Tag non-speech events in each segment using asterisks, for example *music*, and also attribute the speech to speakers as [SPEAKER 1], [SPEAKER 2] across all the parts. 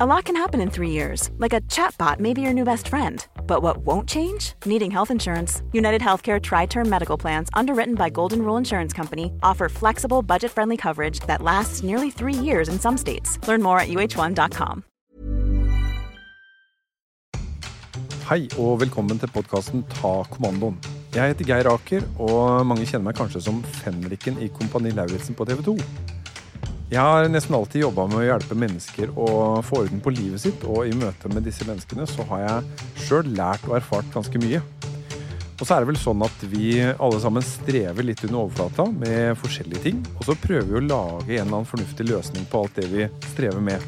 [SPEAKER 1] A lot can happen in three years, like a chatbot may be your new best friend. But what won't change? Needing health insurance. United Healthcare Tri Term Medical Plans, underwritten by Golden Rule Insurance Company, offer flexible, budget friendly coverage that lasts nearly three years in some states. Learn more at uh1.com.
[SPEAKER 2] Hei og velkommen til podkasten Ta kommandoen. Jeg heter Geir Aker, og mange kjenner meg kanskje som fenriken i Kompani Lauritzen på TV 2. Jeg har nesten alltid jobba med å hjelpe mennesker å få orden på livet sitt, og i møte med disse menneskene så har jeg sjøl lært og erfart ganske mye. Og så er det vel sånn at vi alle sammen strever litt under overflata med forskjellige ting, og så prøver vi å lage en eller annen fornuftig løsning på alt det vi strever med.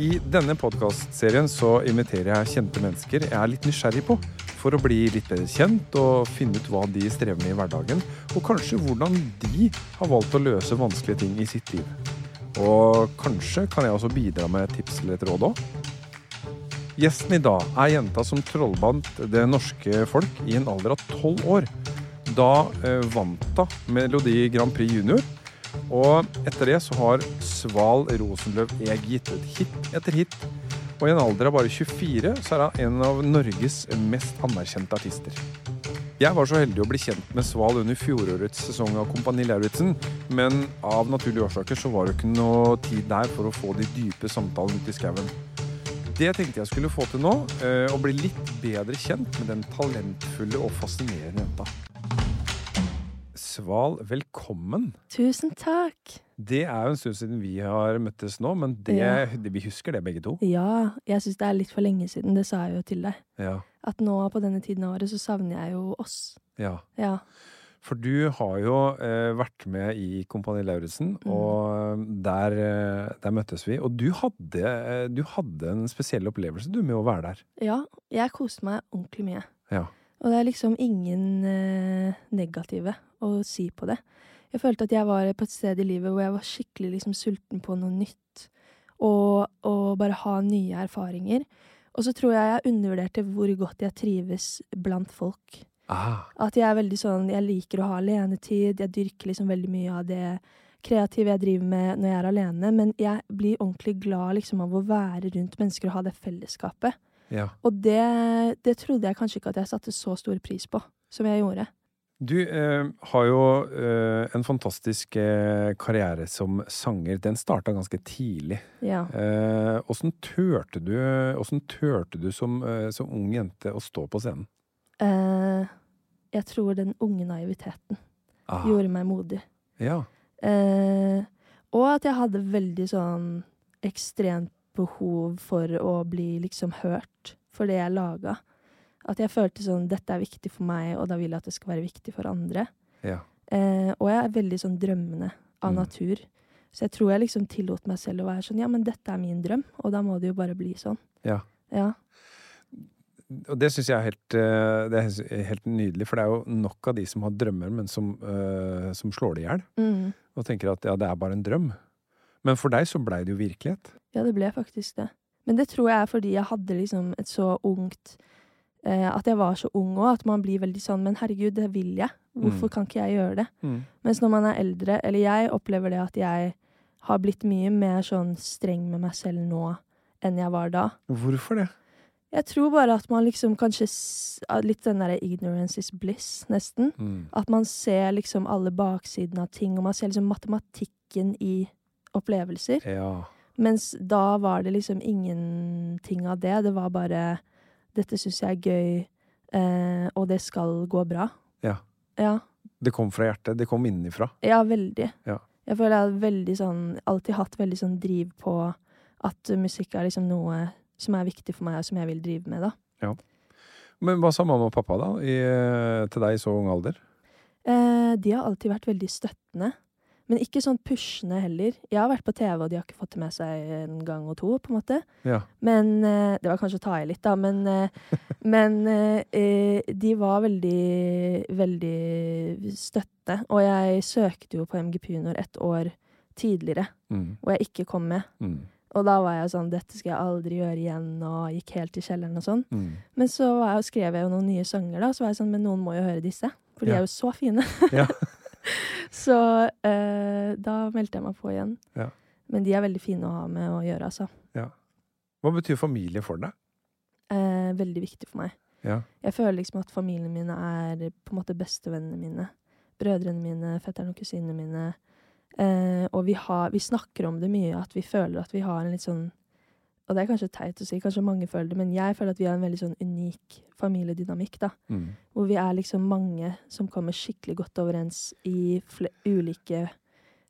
[SPEAKER 2] I denne podkastserien så inviterer jeg kjente mennesker jeg er litt nysgjerrig på, for å bli litt bedre kjent og finne ut hva de strever med i hverdagen, og kanskje hvordan de har valgt å løse vanskelige ting i sitt liv. Og kanskje kan jeg også bidra med et tips eller et råd òg. Gjesten i dag er jenta som trollbandt det norske folk i en alder av tolv år. Da eh, vant hun Melodi Grand Prix Junior. Og etter det så har Sval Rosenløv Eg gitt ut hit etter hit. Og i en alder av bare 24 så er han en av Norges mest anerkjente artister. Jeg var så heldig å bli kjent med Sval under fjorårets sesong av Kompani Lauritzen, men av naturlige årsaker så var det ikke noe tid der for å få de dype samtalene ute i skauen. Det tenkte jeg skulle få til nå, eh, å bli litt bedre kjent med den talentfulle og fascinerende jenta. Sval, velkommen.
[SPEAKER 3] Tusen takk.
[SPEAKER 2] Det er jo en stund siden vi har møttes nå, men det,
[SPEAKER 3] Ja.
[SPEAKER 2] det, vi husker det begge to.
[SPEAKER 3] Ja, jeg syns det er litt for lenge siden. Det sa jeg jo til deg.
[SPEAKER 2] Ja,
[SPEAKER 3] At nå på denne tiden av året så savner jeg jo oss.
[SPEAKER 2] ja.
[SPEAKER 3] Ja.
[SPEAKER 2] For du har jo eh, vært med i Kompani Lauritzen,
[SPEAKER 3] Mm.
[SPEAKER 2] og der, eh, der møttes vi. Og du hadde, eh, du hadde en spesiell opplevelse du med å være der.
[SPEAKER 3] ja, jeg koste meg ordentlig mye.
[SPEAKER 2] Ja.
[SPEAKER 3] Og det er liksom ingen eh, negative å si på det. Jeg følte at jeg var på et sted i livet hvor jeg var skikkelig liksom sulten på noe nytt. Og, og bare ha nye erfaringer. Og så tror jeg jeg undervurderte hvor godt jeg trives blant folk.
[SPEAKER 2] Ah,
[SPEAKER 3] At jeg er veldig sånn, jeg liker å ha alenetid, jeg dyrker liksom veldig mye av det kreative jeg driver med når jeg er alene, men jeg blir ordentlig glad liksom av å være rundt mennesker og ha det fellesskapet.
[SPEAKER 2] ja.
[SPEAKER 3] Og det, det trodde jeg kanskje ikke at jeg satte så stor pris på som jeg gjorde.
[SPEAKER 2] Du eh, har jo eh, en fantastisk eh, karriere som sanger. Den starta ganske tidlig.
[SPEAKER 3] Ja.
[SPEAKER 2] Eh, Åssen turte du, hvordan turte du som, eh, som ung jente å stå på scenen?
[SPEAKER 3] Eh, jeg tror den unge naiviteten
[SPEAKER 2] Ah,
[SPEAKER 3] gjorde meg modig.
[SPEAKER 2] ja.
[SPEAKER 3] Eh, og at jeg hadde veldig sånn ekstremt behov for å bli liksom hørt for det jeg laga. At jeg følte sånn dette er viktig for meg, og da vil jeg at det skal være viktig for andre.
[SPEAKER 2] Ja.
[SPEAKER 3] Eh, og jeg er veldig sånn drømmende av
[SPEAKER 2] Mm.
[SPEAKER 3] natur. Så jeg tror jeg liksom tillot meg selv å være sånn ja, men dette er min drøm, og da må det jo bare bli sånn.
[SPEAKER 2] Ja.
[SPEAKER 3] Ja.
[SPEAKER 2] Og det syns jeg er helt, eh, det er helt nydelig, for det er jo nok av de som har drømmer, men som, eh, som slår det i hjel.
[SPEAKER 3] Mm.
[SPEAKER 2] Og tenker at ja, det er bare en drøm. Men for deg så blei det jo virkelighet.
[SPEAKER 3] Ja, det ble faktisk det. Men det tror jeg er fordi jeg hadde liksom et så ungt eh, At jeg var så ung òg, at man blir veldig sånn Men herregud, det vil jeg. Hvorfor
[SPEAKER 2] Mm.
[SPEAKER 3] kan ikke jeg gjøre det? Mens når man er eldre, eller jeg opplever det at jeg har blitt mye mer sånn streng med meg selv nå enn jeg var da.
[SPEAKER 2] Hvorfor det?
[SPEAKER 3] Jeg tror bare at man liksom kanskje s- Litt den derre ignorance is bliss, nesten. At man ser liksom alle baksidene av ting, og man ser liksom matematikken i opplevelser.
[SPEAKER 2] Ja.
[SPEAKER 3] Mens da var det liksom ingenting av det. Det var bare 'dette syns jeg er gøy, eh, og det skal gå bra'.
[SPEAKER 2] Ja.
[SPEAKER 3] Ja,
[SPEAKER 2] Det kom fra hjertet. Det kom innenfra.
[SPEAKER 3] ja veldig.
[SPEAKER 2] Ja.
[SPEAKER 3] Jeg føler jeg har veldig sånn, alltid hatt veldig sånn driv på at musikk er liksom noe som er viktig for meg, og som jeg vil drive med, da.
[SPEAKER 2] Men hva sa mamma og pappa, da, i, til deg i så ung alder?
[SPEAKER 3] Eh, de har alltid vært veldig støttende. Men ikke sånn pushende heller. Jeg har vært på TV, og de har ikke fått det med seg en gang og to. på en måte.
[SPEAKER 2] Ja.
[SPEAKER 3] Men eh, Det var kanskje å ta i litt, da. Men, eh, men eh, eh, de var veldig, veldig støttende. Og jeg søkte jo på MGP Junior et år tidligere,
[SPEAKER 2] Mm,
[SPEAKER 3] hvor jeg ikke kom med.
[SPEAKER 2] mm,
[SPEAKER 3] Og da var jeg sånn 'Dette skal jeg aldri gjøre igjen', og gikk helt i kjelleren og sånn.
[SPEAKER 2] mm.
[SPEAKER 3] Men så var jeg, og skrev jeg jo noen nye sanger, da, så var jeg sånn, men noen må jo høre disse. For de
[SPEAKER 2] Ja.
[SPEAKER 3] er jo så fine.
[SPEAKER 2] Ja.
[SPEAKER 3] *laughs* så eh, da meldte jeg meg på igjen.
[SPEAKER 2] Ja.
[SPEAKER 3] Men de er veldig fine å ha med å gjøre, altså.
[SPEAKER 2] Hva betyr familie for deg?
[SPEAKER 3] Eh, veldig viktig for meg.
[SPEAKER 2] Ja.
[SPEAKER 3] Jeg føler liksom at familien min er på en måte bestevennene mine. Brødrene mine, fetterne og kusinene mine. Eh, og vi, har, vi snakker om det mye, at vi føler at vi har en litt sånn Og det er kanskje teit å si, kanskje mange føler det, men jeg føler at vi har en veldig sånn unik familiedynamikk, da.
[SPEAKER 2] Mm.
[SPEAKER 3] hvor vi er liksom mange som kommer skikkelig godt overens i fle- ulike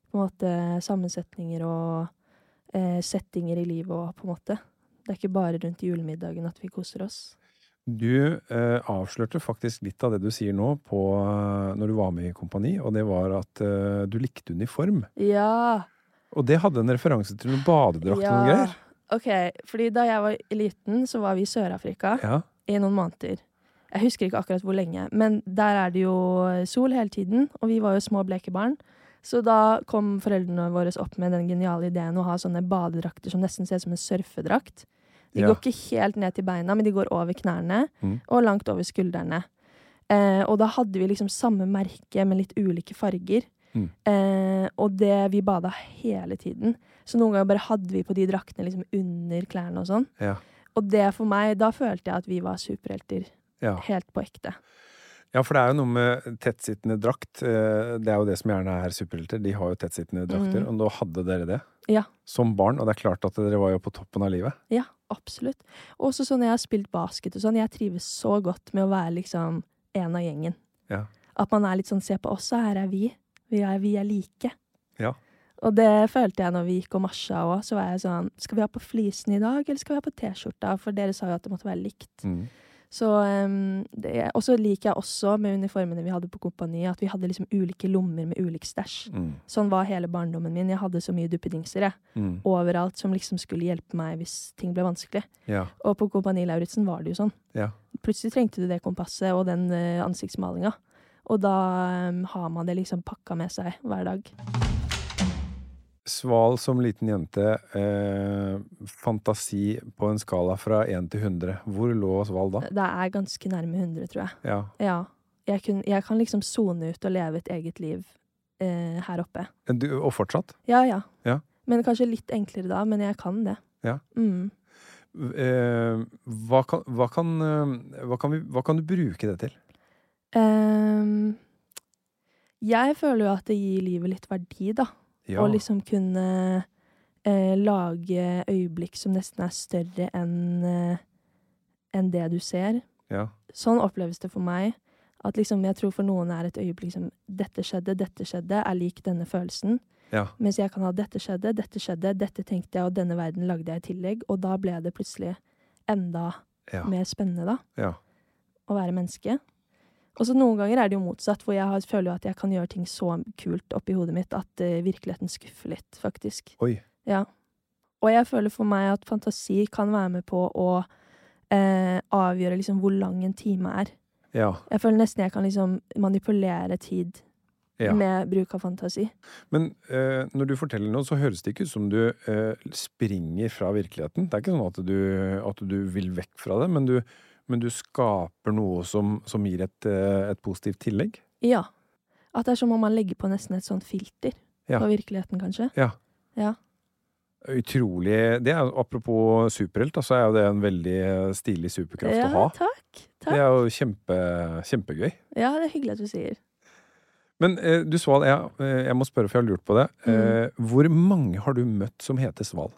[SPEAKER 3] på en måte, sammensetninger og eh, settinger i livet og på en måte. Det er ikke bare rundt julemiddagen at vi koser oss.
[SPEAKER 2] Du eh, avslørte faktisk litt av det du sier nå, på, eh, når du var med i Kompani, og det var at eh, du likte uniform.
[SPEAKER 3] Ja!
[SPEAKER 2] Og det hadde en referanse til noen badedrakt og noen
[SPEAKER 3] ja.
[SPEAKER 2] greier.
[SPEAKER 3] Ok, fordi da jeg var liten, så var vi i Sør-Afrika
[SPEAKER 2] Ja.
[SPEAKER 3] i noen måneder. Jeg husker ikke akkurat hvor lenge, men der er det jo sol hele tiden, og vi var jo små bleke barn. Så da kom foreldrene våre opp med den geniale ideen å ha sånne badedrakter som nesten ser ut som en surfedrakt. De
[SPEAKER 2] Ja.
[SPEAKER 3] går ikke helt ned til beina, men de går over knærne
[SPEAKER 2] Mm.
[SPEAKER 3] og langt over skuldrene. Eh, og da hadde vi liksom samme merke, men litt ulike farger.
[SPEAKER 2] Mm.
[SPEAKER 3] Eh, og det vi bada hele tiden. Så noen ganger bare hadde vi på de draktene liksom under klærne og sånn.
[SPEAKER 2] Ja.
[SPEAKER 3] Og det for meg, da følte jeg at vi var superhelter.
[SPEAKER 2] Ja.
[SPEAKER 3] Helt på ekte.
[SPEAKER 2] ja, for det er jo noe med tettsittende drakt. eh, Det er jo det som gjerne er superhelter. De har jo tettsittende drakter, og nå hadde dere det.
[SPEAKER 3] Mm. Ja.
[SPEAKER 2] Som barn, og det er klart at dere var jo på toppen av livet.
[SPEAKER 3] Ja, absolutt. Også sånn når jeg har spilt basket og sånn, jeg trives så godt med å være liksom en av gjengen.
[SPEAKER 2] Ja.
[SPEAKER 3] At man er litt sånn se på oss, så her er vi. Vi er, vi er like.
[SPEAKER 2] Ja.
[SPEAKER 3] Og det følte jeg når vi gikk og marsja òg. Så var jeg sånn Skal vi ha på flisen i dag, eller skal vi ha på T-skjorta? For dere sa jo at det måtte være likt.
[SPEAKER 2] Mm.
[SPEAKER 3] Så um, det, Og så liker jeg også med uniformene vi hadde på kompaniet, at vi hadde liksom ulike lommer med ulik stæsj.
[SPEAKER 2] Mm.
[SPEAKER 3] Sånn var hele barndommen min. Jeg hadde så mye duppedingser jeg.
[SPEAKER 2] Mm.
[SPEAKER 3] overalt som liksom skulle hjelpe meg hvis ting ble vanskelig.
[SPEAKER 2] Ja.
[SPEAKER 3] Og på Kompani Lauritzen var det jo sånn.
[SPEAKER 2] Ja.
[SPEAKER 3] Plutselig trengte du det kompasset og den eh, ansiktsmalinga. Og da eh, har man det liksom pakka med seg hver dag.
[SPEAKER 2] Sval som liten jente, eh, fantasi på en skala fra 1 til 100. Hvor lå Sval da?
[SPEAKER 3] Det er ganske nærme 100, tror jeg.
[SPEAKER 2] Ja.
[SPEAKER 3] Ja. Jeg, kun, jeg kan liksom sone ut og leve et eget liv eh, her oppe.
[SPEAKER 2] Du, og fortsatt?
[SPEAKER 3] Ja, ja.
[SPEAKER 2] Ja.
[SPEAKER 3] Men kanskje litt enklere da, men jeg kan det.
[SPEAKER 2] Ja.
[SPEAKER 3] Mm.
[SPEAKER 2] Eh, hva, kan, hva, kan, eh, hva, kan vi, hva kan du bruke det til?
[SPEAKER 3] Ehm, jeg føler jo at det gir livet litt verdi, da.
[SPEAKER 2] Ja.
[SPEAKER 3] Og liksom kunne eh, lage øyeblikk som nesten er større enn eh, enn det du ser.
[SPEAKER 2] ja.
[SPEAKER 3] Sånn oppleves det for meg. At liksom, jeg tror for noen er et øyeblikk som 'dette skjedde, dette skjedde', er lik denne følelsen.
[SPEAKER 2] Ja.
[SPEAKER 3] Mens jeg kan ha 'dette skjedde, dette skjedde', 'dette tenkte jeg', og 'denne verden lagde jeg i tillegg'. Og da ble det plutselig enda
[SPEAKER 2] Ja.
[SPEAKER 3] mer spennende, da
[SPEAKER 2] ja.
[SPEAKER 3] å være menneske. Og så noen ganger er det jo motsatt, hvor jeg har, føler jo at jeg kan gjøre ting så kult oppi hodet mitt at eh, virkeligheten skuffer litt, faktisk.
[SPEAKER 2] Oi.
[SPEAKER 3] Ja. Og jeg føler for meg at fantasi kan være med på å eh, avgjøre liksom hvor lang en time er.
[SPEAKER 2] Ja.
[SPEAKER 3] Jeg føler nesten jeg kan liksom manipulere tid
[SPEAKER 2] ja.
[SPEAKER 3] med bruk av fantasi.
[SPEAKER 2] Men eh, når du forteller noe, så høres det ikke ut som du eh, springer fra virkeligheten. Det er ikke sånn at du, at du vil vekk fra det, men du, men du skaper noe som, som gir et, eh, et positivt tillegg.
[SPEAKER 3] Ja. At det er som om man legger på nesten et sånt filter
[SPEAKER 2] Ja.
[SPEAKER 3] på virkeligheten, kanskje.
[SPEAKER 2] Ja.
[SPEAKER 3] Ja.
[SPEAKER 2] Utrolig det er, Apropos superhelt, da, så er jo det en veldig eh, stilig superkraft å ha.
[SPEAKER 3] takk.
[SPEAKER 2] Det
[SPEAKER 3] takk.
[SPEAKER 2] er jo kjempe, kjempegøy.
[SPEAKER 3] Ja, det er hyggelig at du sier.
[SPEAKER 2] Men eh,
[SPEAKER 3] Mm.
[SPEAKER 2] du Sval, jeg, eh, jeg må spørre, for jeg har lurt på det. Eh, hvor mange har du møtt som heter Sval?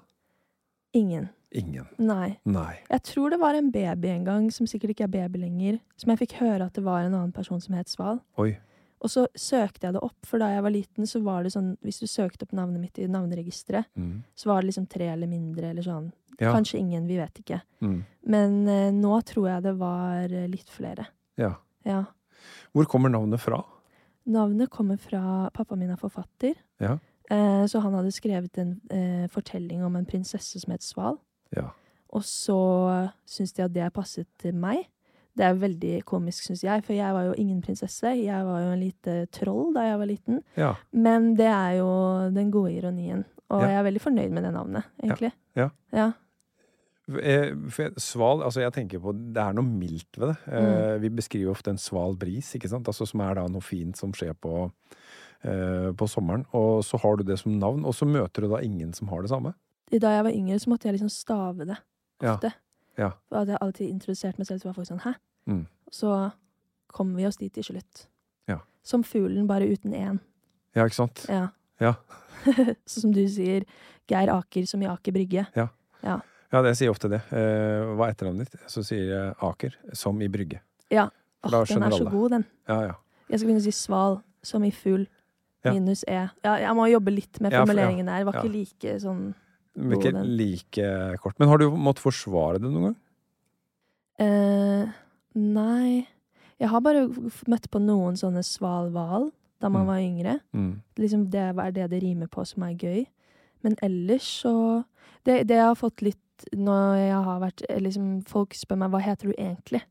[SPEAKER 3] Ingen.
[SPEAKER 2] Ingen.
[SPEAKER 3] Nei.
[SPEAKER 2] Nei.
[SPEAKER 3] Jeg tror det var en baby en gang, som sikkert ikke er baby lenger, som jeg fikk høre at det var en annen person som het Sval.
[SPEAKER 2] Oi.
[SPEAKER 3] Og så søkte jeg det opp, for da jeg var liten, så var det sånn Hvis du søkte opp navnet mitt i navneregisteret,
[SPEAKER 2] Mm.
[SPEAKER 3] så var det liksom tre eller mindre, eller sånn.
[SPEAKER 2] Ja.
[SPEAKER 3] Kanskje ingen, vi vet ikke.
[SPEAKER 2] Mm.
[SPEAKER 3] Men eh, nå tror jeg det var eh, litt flere.
[SPEAKER 2] ja.
[SPEAKER 3] Ja.
[SPEAKER 2] Hvor kommer navnet fra?
[SPEAKER 3] Navnet kommer fra Pappa min er forfatter,
[SPEAKER 2] Ja.
[SPEAKER 3] eh, så han hadde skrevet en eh, fortelling om en prinsesse som het Sval.
[SPEAKER 2] Ja.
[SPEAKER 3] Og så syns de at det passet til meg. Det er veldig komisk, syns jeg, for jeg var jo ingen prinsesse. Jeg var jo en lite troll da jeg var liten.
[SPEAKER 2] Ja.
[SPEAKER 3] Men det er jo den gode ironien. Og
[SPEAKER 2] Ja.
[SPEAKER 3] jeg er veldig fornøyd med det navnet, egentlig.
[SPEAKER 2] Ja.
[SPEAKER 3] Ja.
[SPEAKER 2] Eh, for jeg- Sval, altså jeg tenker på Det er noe mildt ved det. Eh, Vi beskriver ofte en sval bris, ikke sant? Altså, som er da noe fint som skjer på, eh, på sommeren. Og så har du det som navn, og så møter du da ingen som har det samme.
[SPEAKER 3] Da jeg var yngre, så måtte jeg liksom stave det
[SPEAKER 2] Ja.
[SPEAKER 3] ofte.
[SPEAKER 2] Ja.
[SPEAKER 3] Og hadde jeg alltid introdusert meg selv, så var folk sånn 'hæ?'
[SPEAKER 2] Mm.
[SPEAKER 3] Så kom vi oss dit til slutt.
[SPEAKER 2] Ja.
[SPEAKER 3] Som fuglen, bare uten én.
[SPEAKER 2] Ja, ikke sant?
[SPEAKER 3] Ja. *laughs*
[SPEAKER 2] Ja.
[SPEAKER 3] Sånn som du sier, Geir Aker som i Aker Brygge.
[SPEAKER 2] Ja, det jeg sier ofte det. Eh, hva er etternavnet ditt? Så sier jeg Aker, som i Brygge.
[SPEAKER 3] Ja.
[SPEAKER 2] For da
[SPEAKER 3] Åh, den
[SPEAKER 2] skjønner
[SPEAKER 3] er så
[SPEAKER 2] alle.
[SPEAKER 3] god, den.
[SPEAKER 2] Ja, ja.
[SPEAKER 3] Jeg skal begynne å si sval, som i fugl.
[SPEAKER 2] Ja.
[SPEAKER 3] Minus e. Ja, jeg må jobbe litt med
[SPEAKER 2] Ja, for-
[SPEAKER 3] formuleringen
[SPEAKER 2] ja,
[SPEAKER 3] der. Var
[SPEAKER 2] ja.
[SPEAKER 3] ikke like sånn
[SPEAKER 2] Men
[SPEAKER 3] God,
[SPEAKER 2] ikke
[SPEAKER 3] den.
[SPEAKER 2] like kort. Men har du måttet forsvare det noen gang?
[SPEAKER 3] eh, Nei. Jeg har bare f- møtt på noen sånne sval-hval da
[SPEAKER 2] Mm.
[SPEAKER 3] man var yngre. Liksom det er det det rimer på som er gøy. Men ellers så Det, det jeg har fått litt når jeg har vært eh, liksom, Folk spør meg hva heter du egentlig?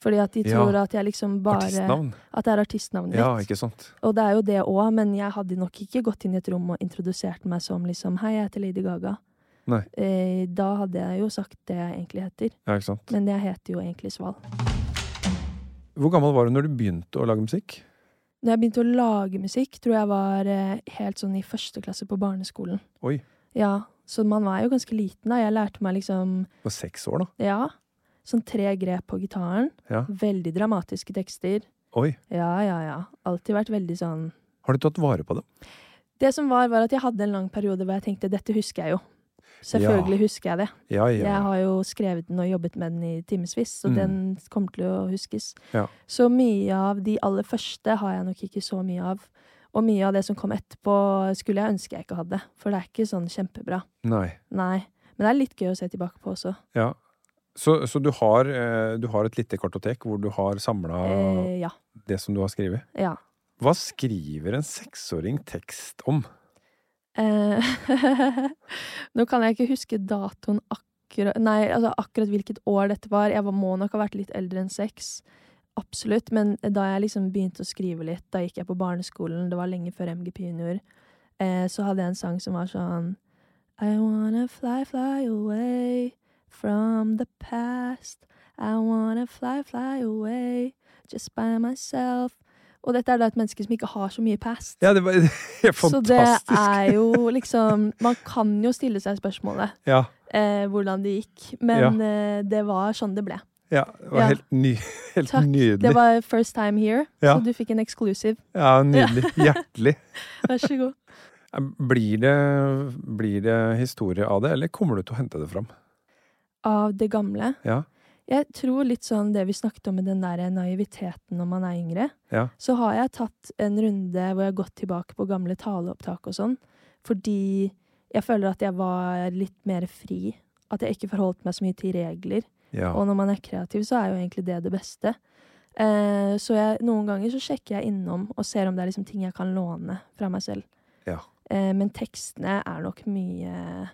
[SPEAKER 3] Fordi at de
[SPEAKER 2] Ja.
[SPEAKER 3] tror at jeg liksom bare
[SPEAKER 2] Artistnavn?
[SPEAKER 3] At det er artistnavnet
[SPEAKER 2] Ja,
[SPEAKER 3] mitt.
[SPEAKER 2] ikke sant?
[SPEAKER 3] Og det er jo det òg, men jeg hadde nok ikke gått inn i et rom og introdusert meg som liksom Hei, jeg heter Lady Gaga.
[SPEAKER 2] Nei.
[SPEAKER 3] Eh, da hadde jeg jo sagt det jeg egentlig heter.
[SPEAKER 2] Ja, ikke sant?
[SPEAKER 3] Men jeg heter jo egentlig Sval.
[SPEAKER 2] Hvor gammel var du når du begynte å lage musikk?
[SPEAKER 3] Når jeg begynte å lage musikk, tror jeg var eh, helt sånn i første klasse på barneskolen.
[SPEAKER 2] Oi,
[SPEAKER 3] Ja, så man var jo ganske liten da. Jeg lærte meg liksom
[SPEAKER 2] du var seks år, da?
[SPEAKER 3] Ja. Sånn tre grep på gitaren.
[SPEAKER 2] Ja.
[SPEAKER 3] Veldig dramatiske tekster.
[SPEAKER 2] Oi.
[SPEAKER 3] Ja, ja, ja. Alltid vært veldig sånn
[SPEAKER 2] Har du tatt vare på dem?
[SPEAKER 3] Det som var, var at jeg hadde en lang periode hvor jeg tenkte dette husker jeg jo. Selvfølgelig husker jeg det.
[SPEAKER 2] Ja,
[SPEAKER 3] Jeg
[SPEAKER 2] ja.
[SPEAKER 3] har jo skrevet den og jobbet med den i timevis, så
[SPEAKER 2] Mm.
[SPEAKER 3] den kommer til å huskes.
[SPEAKER 2] Ja.
[SPEAKER 3] Så mye av de aller første har jeg nok ikke så mye av. Og mye av det som kom etterpå, skulle jeg ønske jeg ikke hadde. For det er ikke sånn kjempebra.
[SPEAKER 2] Nei.
[SPEAKER 3] Nei. Men det er litt gøy å se tilbake på også.
[SPEAKER 2] Ja. Så, så du, har, eh, du har et lite kartotek hvor du har samla
[SPEAKER 3] Eh, ja.
[SPEAKER 2] det som du har skrevet?
[SPEAKER 3] ja.
[SPEAKER 2] Hva skriver en seksåring tekst om?
[SPEAKER 3] Eh, *laughs* Nå kan jeg ikke huske datoen akkurat Nei, altså akkurat hvilket år dette var. Jeg var- må nok ha vært litt eldre enn seks. Absolutt. Men da jeg liksom begynte å skrive litt, da gikk jeg på barneskolen, det var lenge før MGP junior, eh, så hadde jeg en sang som var sånn I wanna fly, fly away from the past. I wanna fly, fly away just by myself. Og dette er da et menneske som ikke har så mye past.
[SPEAKER 2] Ja, det var *laughs* det er fantastisk!
[SPEAKER 3] Så det er jo liksom Man kan jo stille seg spørsmålet
[SPEAKER 2] Ja,
[SPEAKER 3] eh, hvordan det gikk, men eh, det var sånn det ble.
[SPEAKER 2] ja, det var
[SPEAKER 3] Ja.
[SPEAKER 2] helt, ny, *laughs* helt
[SPEAKER 3] Takk.
[SPEAKER 2] nydelig.
[SPEAKER 3] Det var first time here,
[SPEAKER 2] Ja.
[SPEAKER 3] så du fikk en exclusive.
[SPEAKER 2] Ja,
[SPEAKER 3] *laughs*
[SPEAKER 2] nydelig. Hjertelig.
[SPEAKER 3] Vær så god.
[SPEAKER 2] Blir det, blir det historie av det, eller kommer du til å hente det fram?
[SPEAKER 3] Av det gamle.
[SPEAKER 2] Ja,
[SPEAKER 3] Jeg tror litt sånn det vi snakket om med den der naiviteten når man er yngre.
[SPEAKER 2] ja,
[SPEAKER 3] Så har jeg tatt en runde hvor jeg har gått tilbake på gamle taleopptak og sånn, fordi jeg føler at jeg var litt mer fri. At jeg ikke forholdt meg så mye til regler.
[SPEAKER 2] ja.
[SPEAKER 3] Og når man er kreativ, så er jo egentlig det det beste. Eh, så jeg, noen ganger så sjekker jeg innom og ser om det er liksom ting jeg kan låne fra meg selv.
[SPEAKER 2] Ja.
[SPEAKER 3] Eh, men tekstene er nok mye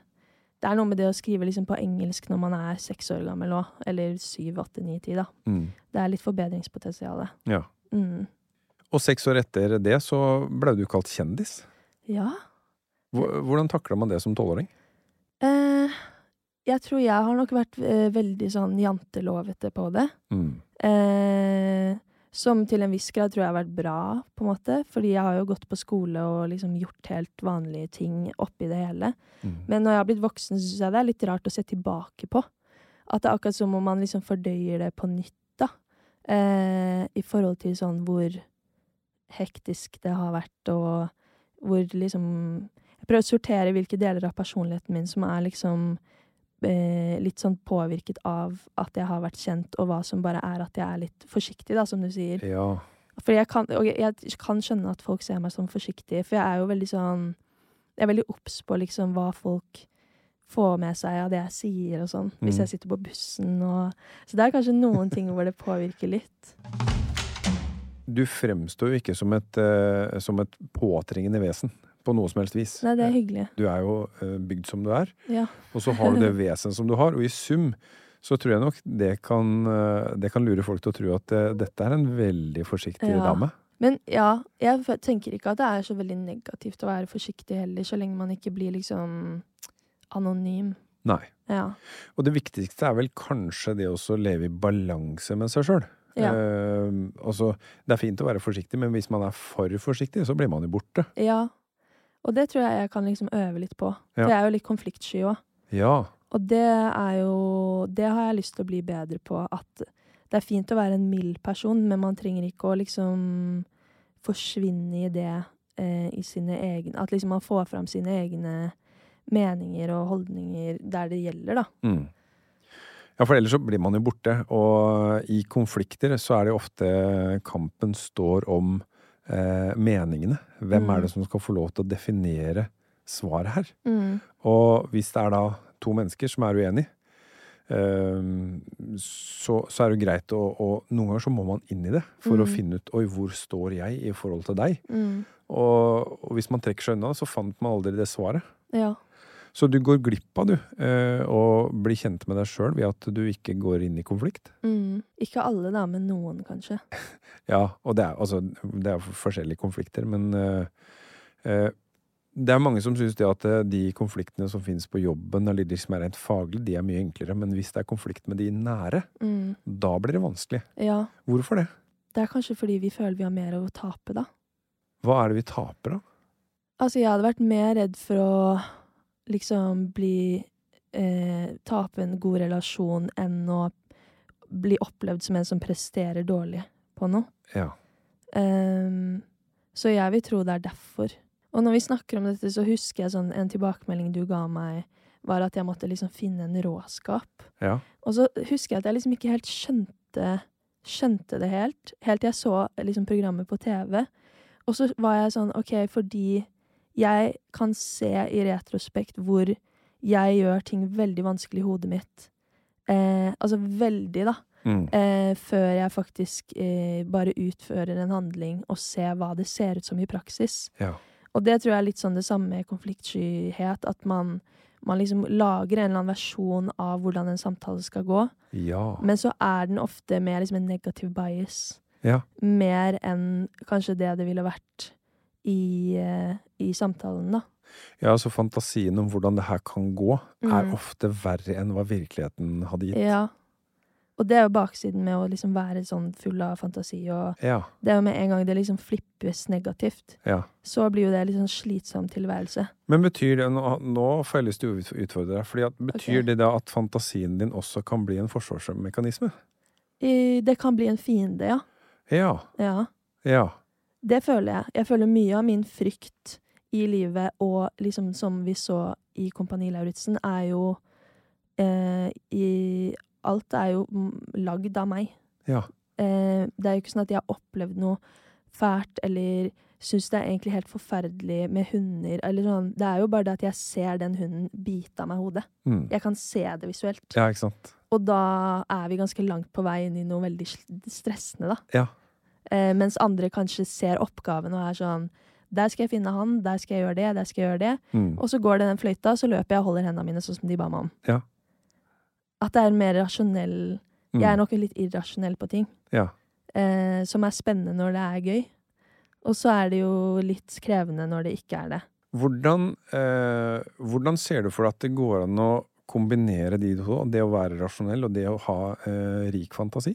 [SPEAKER 3] Det er noe med det å skrive liksom på engelsk når man er seks år gammel òg. Eller syv, åtte, ni, ti, da.
[SPEAKER 2] Mm,
[SPEAKER 3] Det er litt forbedringspotensial.
[SPEAKER 2] ja.
[SPEAKER 3] Mm.
[SPEAKER 2] Og seks år etter det så ble du kalt kjendis.
[SPEAKER 3] Ja.
[SPEAKER 2] Hvor- Hvordan takla man det som tolvåring?
[SPEAKER 3] Eh, jeg tror jeg har nok vært eh, veldig sånn jantelovete på det.
[SPEAKER 2] Mm.
[SPEAKER 3] Eh, som til en viss grad tror jeg har vært bra, på en måte. Fordi jeg har jo gått på skole og liksom gjort helt vanlige ting oppi det hele.
[SPEAKER 2] Mm.
[SPEAKER 3] Men når jeg har blitt voksen, så syns jeg det er litt rart å se tilbake på. At det er akkurat som om man liksom fordøyer det på nytt, da. Eh, I forhold til sånn hvor hektisk det har vært, og hvor liksom Jeg prøver å sortere hvilke deler av personligheten min som er liksom eh, litt sånn påvirket av at jeg har vært kjent, og hva som bare er at jeg er litt forsiktig, da, som du sier.
[SPEAKER 2] Ja.
[SPEAKER 3] For jeg kan, og jeg, jeg kan skjønne at folk ser meg som forsiktig, for jeg er jo veldig sånn Jeg er veldig obs på liksom hva folk får med seg av det jeg sier og sånn, hvis
[SPEAKER 2] Mm.
[SPEAKER 3] jeg sitter på bussen og Så det er kanskje noen ting hvor det påvirker litt.
[SPEAKER 2] Du fremstår jo ikke som et, eh, som et påtrengende vesen på noe som helst vis.
[SPEAKER 3] Nei, det er hyggelig.
[SPEAKER 2] Du er jo eh, bygd som du er,
[SPEAKER 3] Ja.
[SPEAKER 2] og så har du
[SPEAKER 3] *laughs*
[SPEAKER 2] det vesenet som du har, og i sum så tror jeg nok det kan, eh, det kan lure folk til å tro at eh, dette er en veldig forsiktig
[SPEAKER 3] Ja.
[SPEAKER 2] dame.
[SPEAKER 3] Men ja, jeg f- tenker ikke at det er så veldig negativt å være forsiktig heller, så lenge man ikke blir liksom anonym.
[SPEAKER 2] Nei.
[SPEAKER 3] Ja.
[SPEAKER 2] Og det viktigste er vel kanskje det også å leve i balanse med seg sjøl.
[SPEAKER 3] Ja.
[SPEAKER 2] altså, det er fint å være forsiktig, men hvis man er for forsiktig, så blir man jo borte.
[SPEAKER 3] ja. Og det tror jeg jeg kan liksom øve litt på.
[SPEAKER 2] Ja.
[SPEAKER 3] For jeg er jo litt konfliktsky òg.
[SPEAKER 2] Ja.
[SPEAKER 3] Og det er jo Det har jeg lyst til å bli bedre på. At det er fint å være en mild person, men man trenger ikke å liksom forsvinne i det eh, i sine egne At liksom man får fram sine egne meninger og holdninger der det gjelder, da.
[SPEAKER 2] Mm. Ja, for ellers så blir man jo borte, og i konflikter så er det jo ofte kampen står om eh, meningene. Hvem
[SPEAKER 3] Mm.
[SPEAKER 2] er det som skal få lov til å definere svaret her?
[SPEAKER 3] Mm,
[SPEAKER 2] Og hvis det er da to mennesker som er uenige, ehm, så, så er det jo greit å, å Noen ganger så må man inn i det for å
[SPEAKER 3] Mm.
[SPEAKER 2] finne ut Oi, hvor står jeg i forhold til deg?
[SPEAKER 3] Mm.
[SPEAKER 2] Og, og hvis man trekker seg unna, så fant man aldri det svaret.
[SPEAKER 3] Ja.
[SPEAKER 2] Så du går glipp av, du, eh, å bli kjent med deg sjøl ved at du ikke går inn i konflikt.
[SPEAKER 3] Mm. Ikke alle, da, men noen, kanskje.
[SPEAKER 2] Ja, og det er altså Det er forskjellige konflikter, men eh, eh, det er mange som syns det at eh, de konfliktene som finnes på jobben, eller de som er rent faglige, de er mye enklere. Men hvis det er konflikt med de nære,
[SPEAKER 3] Mm.
[SPEAKER 2] da blir det vanskelig.
[SPEAKER 3] Ja.
[SPEAKER 2] Hvorfor det?
[SPEAKER 3] Det er kanskje fordi vi føler vi har mer å tape, da.
[SPEAKER 2] Hva er det vi taper av?
[SPEAKER 3] Altså, jeg hadde vært mer redd for å liksom bli eh, Tape en god relasjon enn å bli opplevd som en som presterer dårlig på noe.
[SPEAKER 2] Ja.
[SPEAKER 3] Ehm, så jeg vil tro det er derfor. Og når vi snakker om dette, så husker jeg sånn en tilbakemelding du ga meg, var at jeg måtte liksom finne en råskap.
[SPEAKER 2] Ja.
[SPEAKER 3] Og så husker jeg at jeg liksom ikke helt skjønte, skjønte det helt, helt til jeg så liksom programmet på TV. Og så var jeg sånn, ok, fordi jeg kan se i retrospekt hvor jeg gjør ting veldig vanskelig i hodet mitt. Eh, altså veldig, da.
[SPEAKER 2] Mm.
[SPEAKER 3] Eh, før jeg faktisk eh, bare utfører en handling og ser hva det ser ut som i praksis.
[SPEAKER 2] ja.
[SPEAKER 3] Og det tror jeg er litt sånn det samme med konfliktskyhet, at man, man liksom lager en eller annen versjon av hvordan en samtale skal gå,
[SPEAKER 2] Ja.
[SPEAKER 3] men så er den ofte mer liksom en negativ bias.
[SPEAKER 2] Ja.
[SPEAKER 3] Mer enn kanskje det det ville vært i, eh, i samtalen, da.
[SPEAKER 2] ja, så fantasien om hvordan det her kan gå, er
[SPEAKER 3] Mm.
[SPEAKER 2] ofte verre enn hva virkeligheten hadde gitt.
[SPEAKER 3] Ja. Og det er jo baksiden med å liksom være sånn full av fantasi, og
[SPEAKER 2] Ja.
[SPEAKER 3] det er jo med en gang det liksom flippes negativt,
[SPEAKER 2] ja.
[SPEAKER 3] så blir jo det litt sånn slitsom tilværelse.
[SPEAKER 2] Men betyr det, nå, nå får jeg lyst til å ut- utfordre deg, fordi at betyr
[SPEAKER 3] Ok.
[SPEAKER 2] det da at fantasien din også kan bli en forsvarsmekanisme?
[SPEAKER 3] I, det kan bli en fiende, ja.
[SPEAKER 2] Ja,
[SPEAKER 3] ja.
[SPEAKER 2] ja,
[SPEAKER 3] Det føler jeg. Jeg føler mye av min frykt i livet, og liksom som vi så i Kompani Lauritzen, er jo eh, i Alt er jo mm, lagd av meg.
[SPEAKER 2] ja.
[SPEAKER 3] Eh, det er jo ikke sånn at jeg har opplevd noe fælt, eller syns det er egentlig helt forferdelig med hunder, eller sånn. Det er jo bare det at jeg ser den hunden bite av meg hodet.
[SPEAKER 2] Mm.
[SPEAKER 3] Jeg kan se det visuelt.
[SPEAKER 2] Ja, ikke sant?
[SPEAKER 3] Og da er vi ganske langt på vei inn i noe veldig sl- stressende, da.
[SPEAKER 2] Ja.
[SPEAKER 3] Eh, mens andre kanskje ser oppgaven og er sånn Der skal jeg finne han, der skal jeg gjøre det, der skal jeg gjøre det.
[SPEAKER 2] Mm.
[SPEAKER 3] Og så går det den fløyta, så løper jeg og holder hendene mine sånn som de ba meg om.
[SPEAKER 2] Ja.
[SPEAKER 3] At det er en mer rasjonell Jeg
[SPEAKER 2] Mm.
[SPEAKER 3] er nok litt irrasjonell på ting.
[SPEAKER 2] Ja.
[SPEAKER 3] Eh, som er spennende når det er gøy. Og så er det jo litt krevende når det ikke er det.
[SPEAKER 2] Hvordan, eh, hvordan ser du for deg at det går an å kombinere de to, det å være rasjonell og det å ha eh, rik fantasi?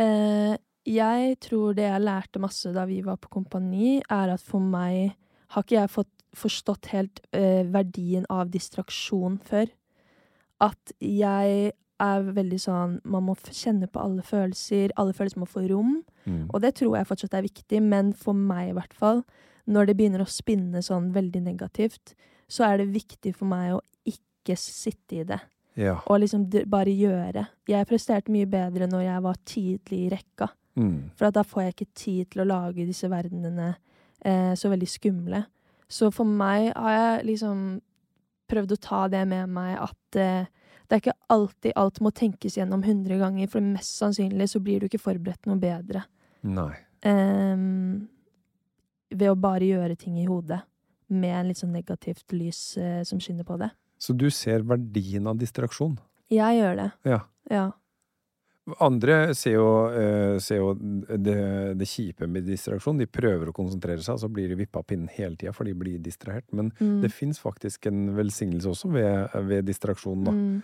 [SPEAKER 3] Eh, jeg tror det jeg lærte masse da vi var på kompani, er at for meg har ikke jeg fått forstått helt eh, verdien av distraksjon før. At jeg er veldig sånn Man må f- kjenne på alle følelser. Alle følelser må få rom.
[SPEAKER 2] Mm.
[SPEAKER 3] Og det tror jeg fortsatt er viktig, men for meg i hvert fall, når det begynner å spinne sånn veldig negativt, så er det viktig for meg å ikke sitte i det.
[SPEAKER 2] Ja.
[SPEAKER 3] Og liksom d- bare gjøre. Jeg presterte mye bedre når jeg var tidlig i rekka.
[SPEAKER 2] Mm.
[SPEAKER 3] For at da får jeg ikke tid til å lage disse verdenene eh, så veldig skumle. Så for meg har jeg liksom prøvd å ta det med meg at eh, det er ikke alltid alt må tenkes gjennom hundre ganger, for mest sannsynlig så blir du ikke forberedt noe bedre
[SPEAKER 2] Nei.
[SPEAKER 3] ehm, ved å bare gjøre ting i hodet med en litt sånn negativt lys eh, som skinner på det.
[SPEAKER 2] Så du ser verdien av distraksjon?
[SPEAKER 3] Jeg gjør det,
[SPEAKER 2] Ja.
[SPEAKER 3] ja.
[SPEAKER 2] Andre ser jo, eh, ser jo det, det kjipe med distraksjon. De prøver å konsentrere seg, og så blir de vippa av pinnen hele tida, for de blir distrahert. Men
[SPEAKER 3] Mm.
[SPEAKER 2] det fins faktisk en velsignelse også ved, ved distraksjon, da.
[SPEAKER 3] Mm.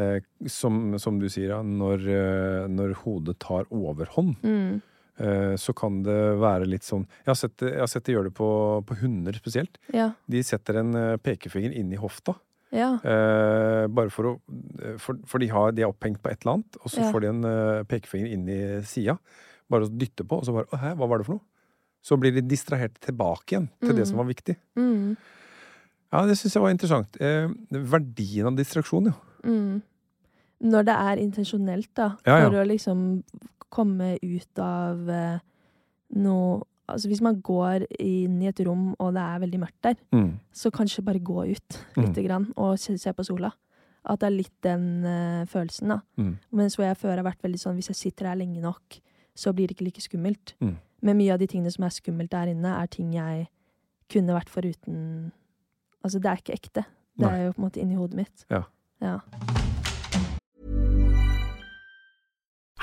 [SPEAKER 2] Eh, som, som du sier, ja, når, eh, når hodet tar overhånd,
[SPEAKER 3] Mm.
[SPEAKER 2] eh, så kan det være litt sånn Jeg har sett, det- jeg har sett det gjøre det på, på hunder spesielt.
[SPEAKER 3] Ja.
[SPEAKER 2] De setter en eh, pekefinger inn i hofta.
[SPEAKER 3] Ja.
[SPEAKER 2] Eh, bare for å eh, For, for de, har, de er opphengt på et eller annet, og så
[SPEAKER 3] Ja.
[SPEAKER 2] får de en eh, pekefinger inn i sida. Bare å dytte på, og så bare «Å, Hæ, hva var det for noe? Så blir de distrahert tilbake igjen til det som var viktig.
[SPEAKER 3] Mm.
[SPEAKER 2] Ja, det syns jeg var interessant. Eh, verdien av distraksjon, ja.
[SPEAKER 3] Mm. Når det er intensjonelt, da.
[SPEAKER 2] Ja, ja.
[SPEAKER 3] For å liksom komme ut av eh, noe Altså hvis man går inn i et rom, og det er veldig mørkt der,
[SPEAKER 2] Mm.
[SPEAKER 3] så kanskje bare gå ut
[SPEAKER 2] Mm.
[SPEAKER 3] lite grann og se, se på sola. At det er litt den eh, følelsen, da.
[SPEAKER 2] Mm.
[SPEAKER 3] Mens hvor jeg før har vært veldig sånn hvis jeg sitter her lenge nok, så blir det ikke like skummelt.
[SPEAKER 2] Mm.
[SPEAKER 3] Men mye av de tingene som er skummelt der inne, er ting jeg kunne vært foruten Altså det er ikke ekte. Det
[SPEAKER 2] Nei.
[SPEAKER 3] er jo på en måte inni hodet mitt.
[SPEAKER 2] Ja.
[SPEAKER 3] ja.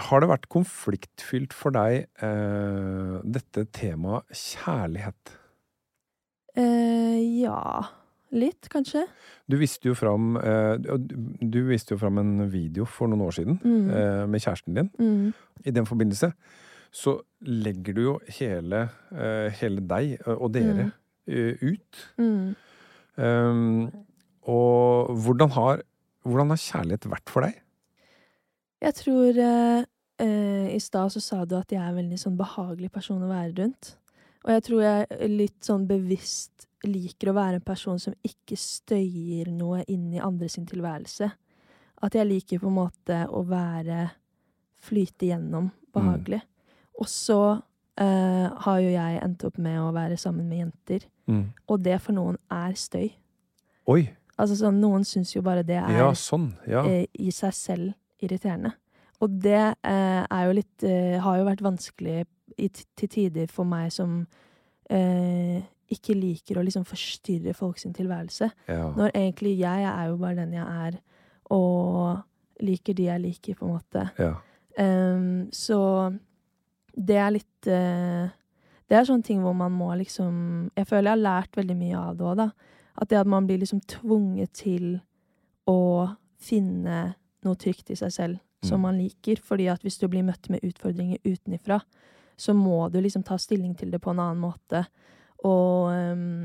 [SPEAKER 2] Har det vært konfliktfylt for deg, eh, dette temaet kjærlighet?
[SPEAKER 3] Eh, ja. Litt, kanskje.
[SPEAKER 2] Du viste jo fram, eh, du- du viste jo fram en video for noen år siden
[SPEAKER 3] Mm.
[SPEAKER 2] eh, med kjæresten din.
[SPEAKER 3] Mm.
[SPEAKER 2] i den forbindelse, så legger du jo hele, eh, hele deg eh, og dere eh, ut.
[SPEAKER 3] Mm.
[SPEAKER 2] Um, og hvordan har, hvordan har kjærlighet vært for deg?
[SPEAKER 3] Jeg tror eh, eh, I stad så sa du at jeg er en veldig sånn behagelig person å være rundt. Og jeg tror jeg litt sånn bevisst liker å være en person som ikke støyer noe inn i andre sin tilværelse. At jeg liker på en måte å være flyte gjennom behagelig. Og så eh, har jo jeg endt opp med å være sammen med jenter. Og det for noen er støy.
[SPEAKER 2] Oi!
[SPEAKER 3] Altså sånn, Noen syns jo bare det er
[SPEAKER 2] Ja, sånn. Ja.
[SPEAKER 3] eh, i seg selv irriterende. Og det eh, er jo litt eh, Har jo vært vanskelig i, t- til tider for meg som eh, ikke liker å liksom forstyrre folk sin tilværelse.
[SPEAKER 2] ja.
[SPEAKER 3] Når egentlig jeg, jeg er jo bare den jeg er, og liker de jeg liker, på en måte.
[SPEAKER 2] ja.
[SPEAKER 3] Ehm, så det er litt eh, Det er sånne ting hvor man må liksom Jeg føler jeg har lært veldig mye av det òg, da. At det at man blir liksom tvunget til å finne noe trygt i seg selv som man liker. Fordi at hvis du blir møtt med utfordringer utenifra, så må du liksom ta stilling til det på en annen måte. Og, ehm,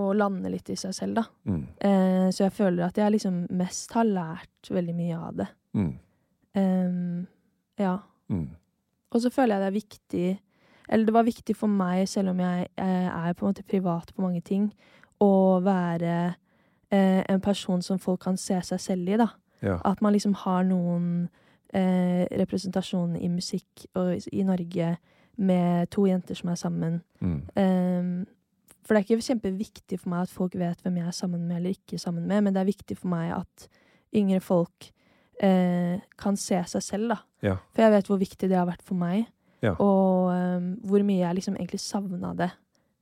[SPEAKER 3] og lande litt i seg selv, da.
[SPEAKER 2] Mm.
[SPEAKER 3] Eh, så jeg føler at jeg liksom mest har lært veldig mye av det.
[SPEAKER 2] Mm.
[SPEAKER 3] Ehm, ja.
[SPEAKER 2] Mm.
[SPEAKER 3] Og så føler jeg det er viktig Eller det var viktig for meg, selv om jeg eh, er på en måte privat på mange ting, å være eh, en person som folk kan se seg selv i, da.
[SPEAKER 2] Ja.
[SPEAKER 3] At man liksom har noen eh, representasjon i musikk og i- i Norge med to jenter som er sammen.
[SPEAKER 2] Mm.
[SPEAKER 3] Ehm, for det er ikke kjempeviktig for meg at folk vet hvem jeg er sammen med eller ikke sammen med, men det er viktig for meg at yngre folk eh, kan se seg selv, da.
[SPEAKER 2] Ja.
[SPEAKER 3] For jeg vet hvor viktig det har vært for meg,
[SPEAKER 2] Ja.
[SPEAKER 3] og ehm, hvor mye jeg liksom egentlig savna det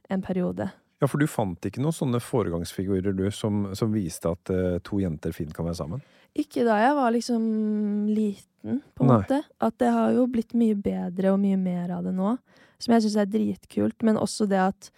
[SPEAKER 3] en periode.
[SPEAKER 2] ja, for du fant ikke noen sånne foregangsfigurer du som, som viste at eh, to jenter fint kan være sammen?
[SPEAKER 3] Ikke da jeg var liksom liten, på en
[SPEAKER 2] Nei.
[SPEAKER 3] måte. At det har jo blitt mye bedre og mye mer av det nå. Som jeg syns er dritkult. Men også det at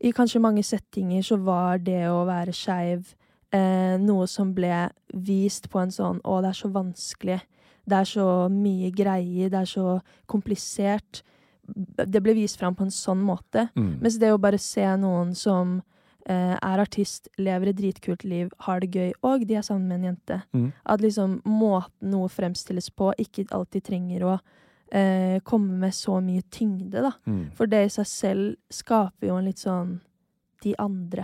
[SPEAKER 3] i kanskje mange settinger så var det å være skeiv eh, noe som ble vist på en sånn Å, det er så vanskelig. Det er så mye greier. Det er så komplisert. Det ble vist fram på en sånn måte.
[SPEAKER 2] Mm.
[SPEAKER 3] Mens det å bare se noen som eh, er artist, lever et dritkult liv, har det gøy, og de er sammen med en jente
[SPEAKER 2] Mm.
[SPEAKER 3] At liksom måten noe fremstilles på, ikke alltid trenger å eh, komme med så mye tyngde, da.
[SPEAKER 2] Mm.
[SPEAKER 3] For det i seg selv skaper jo en litt sånn de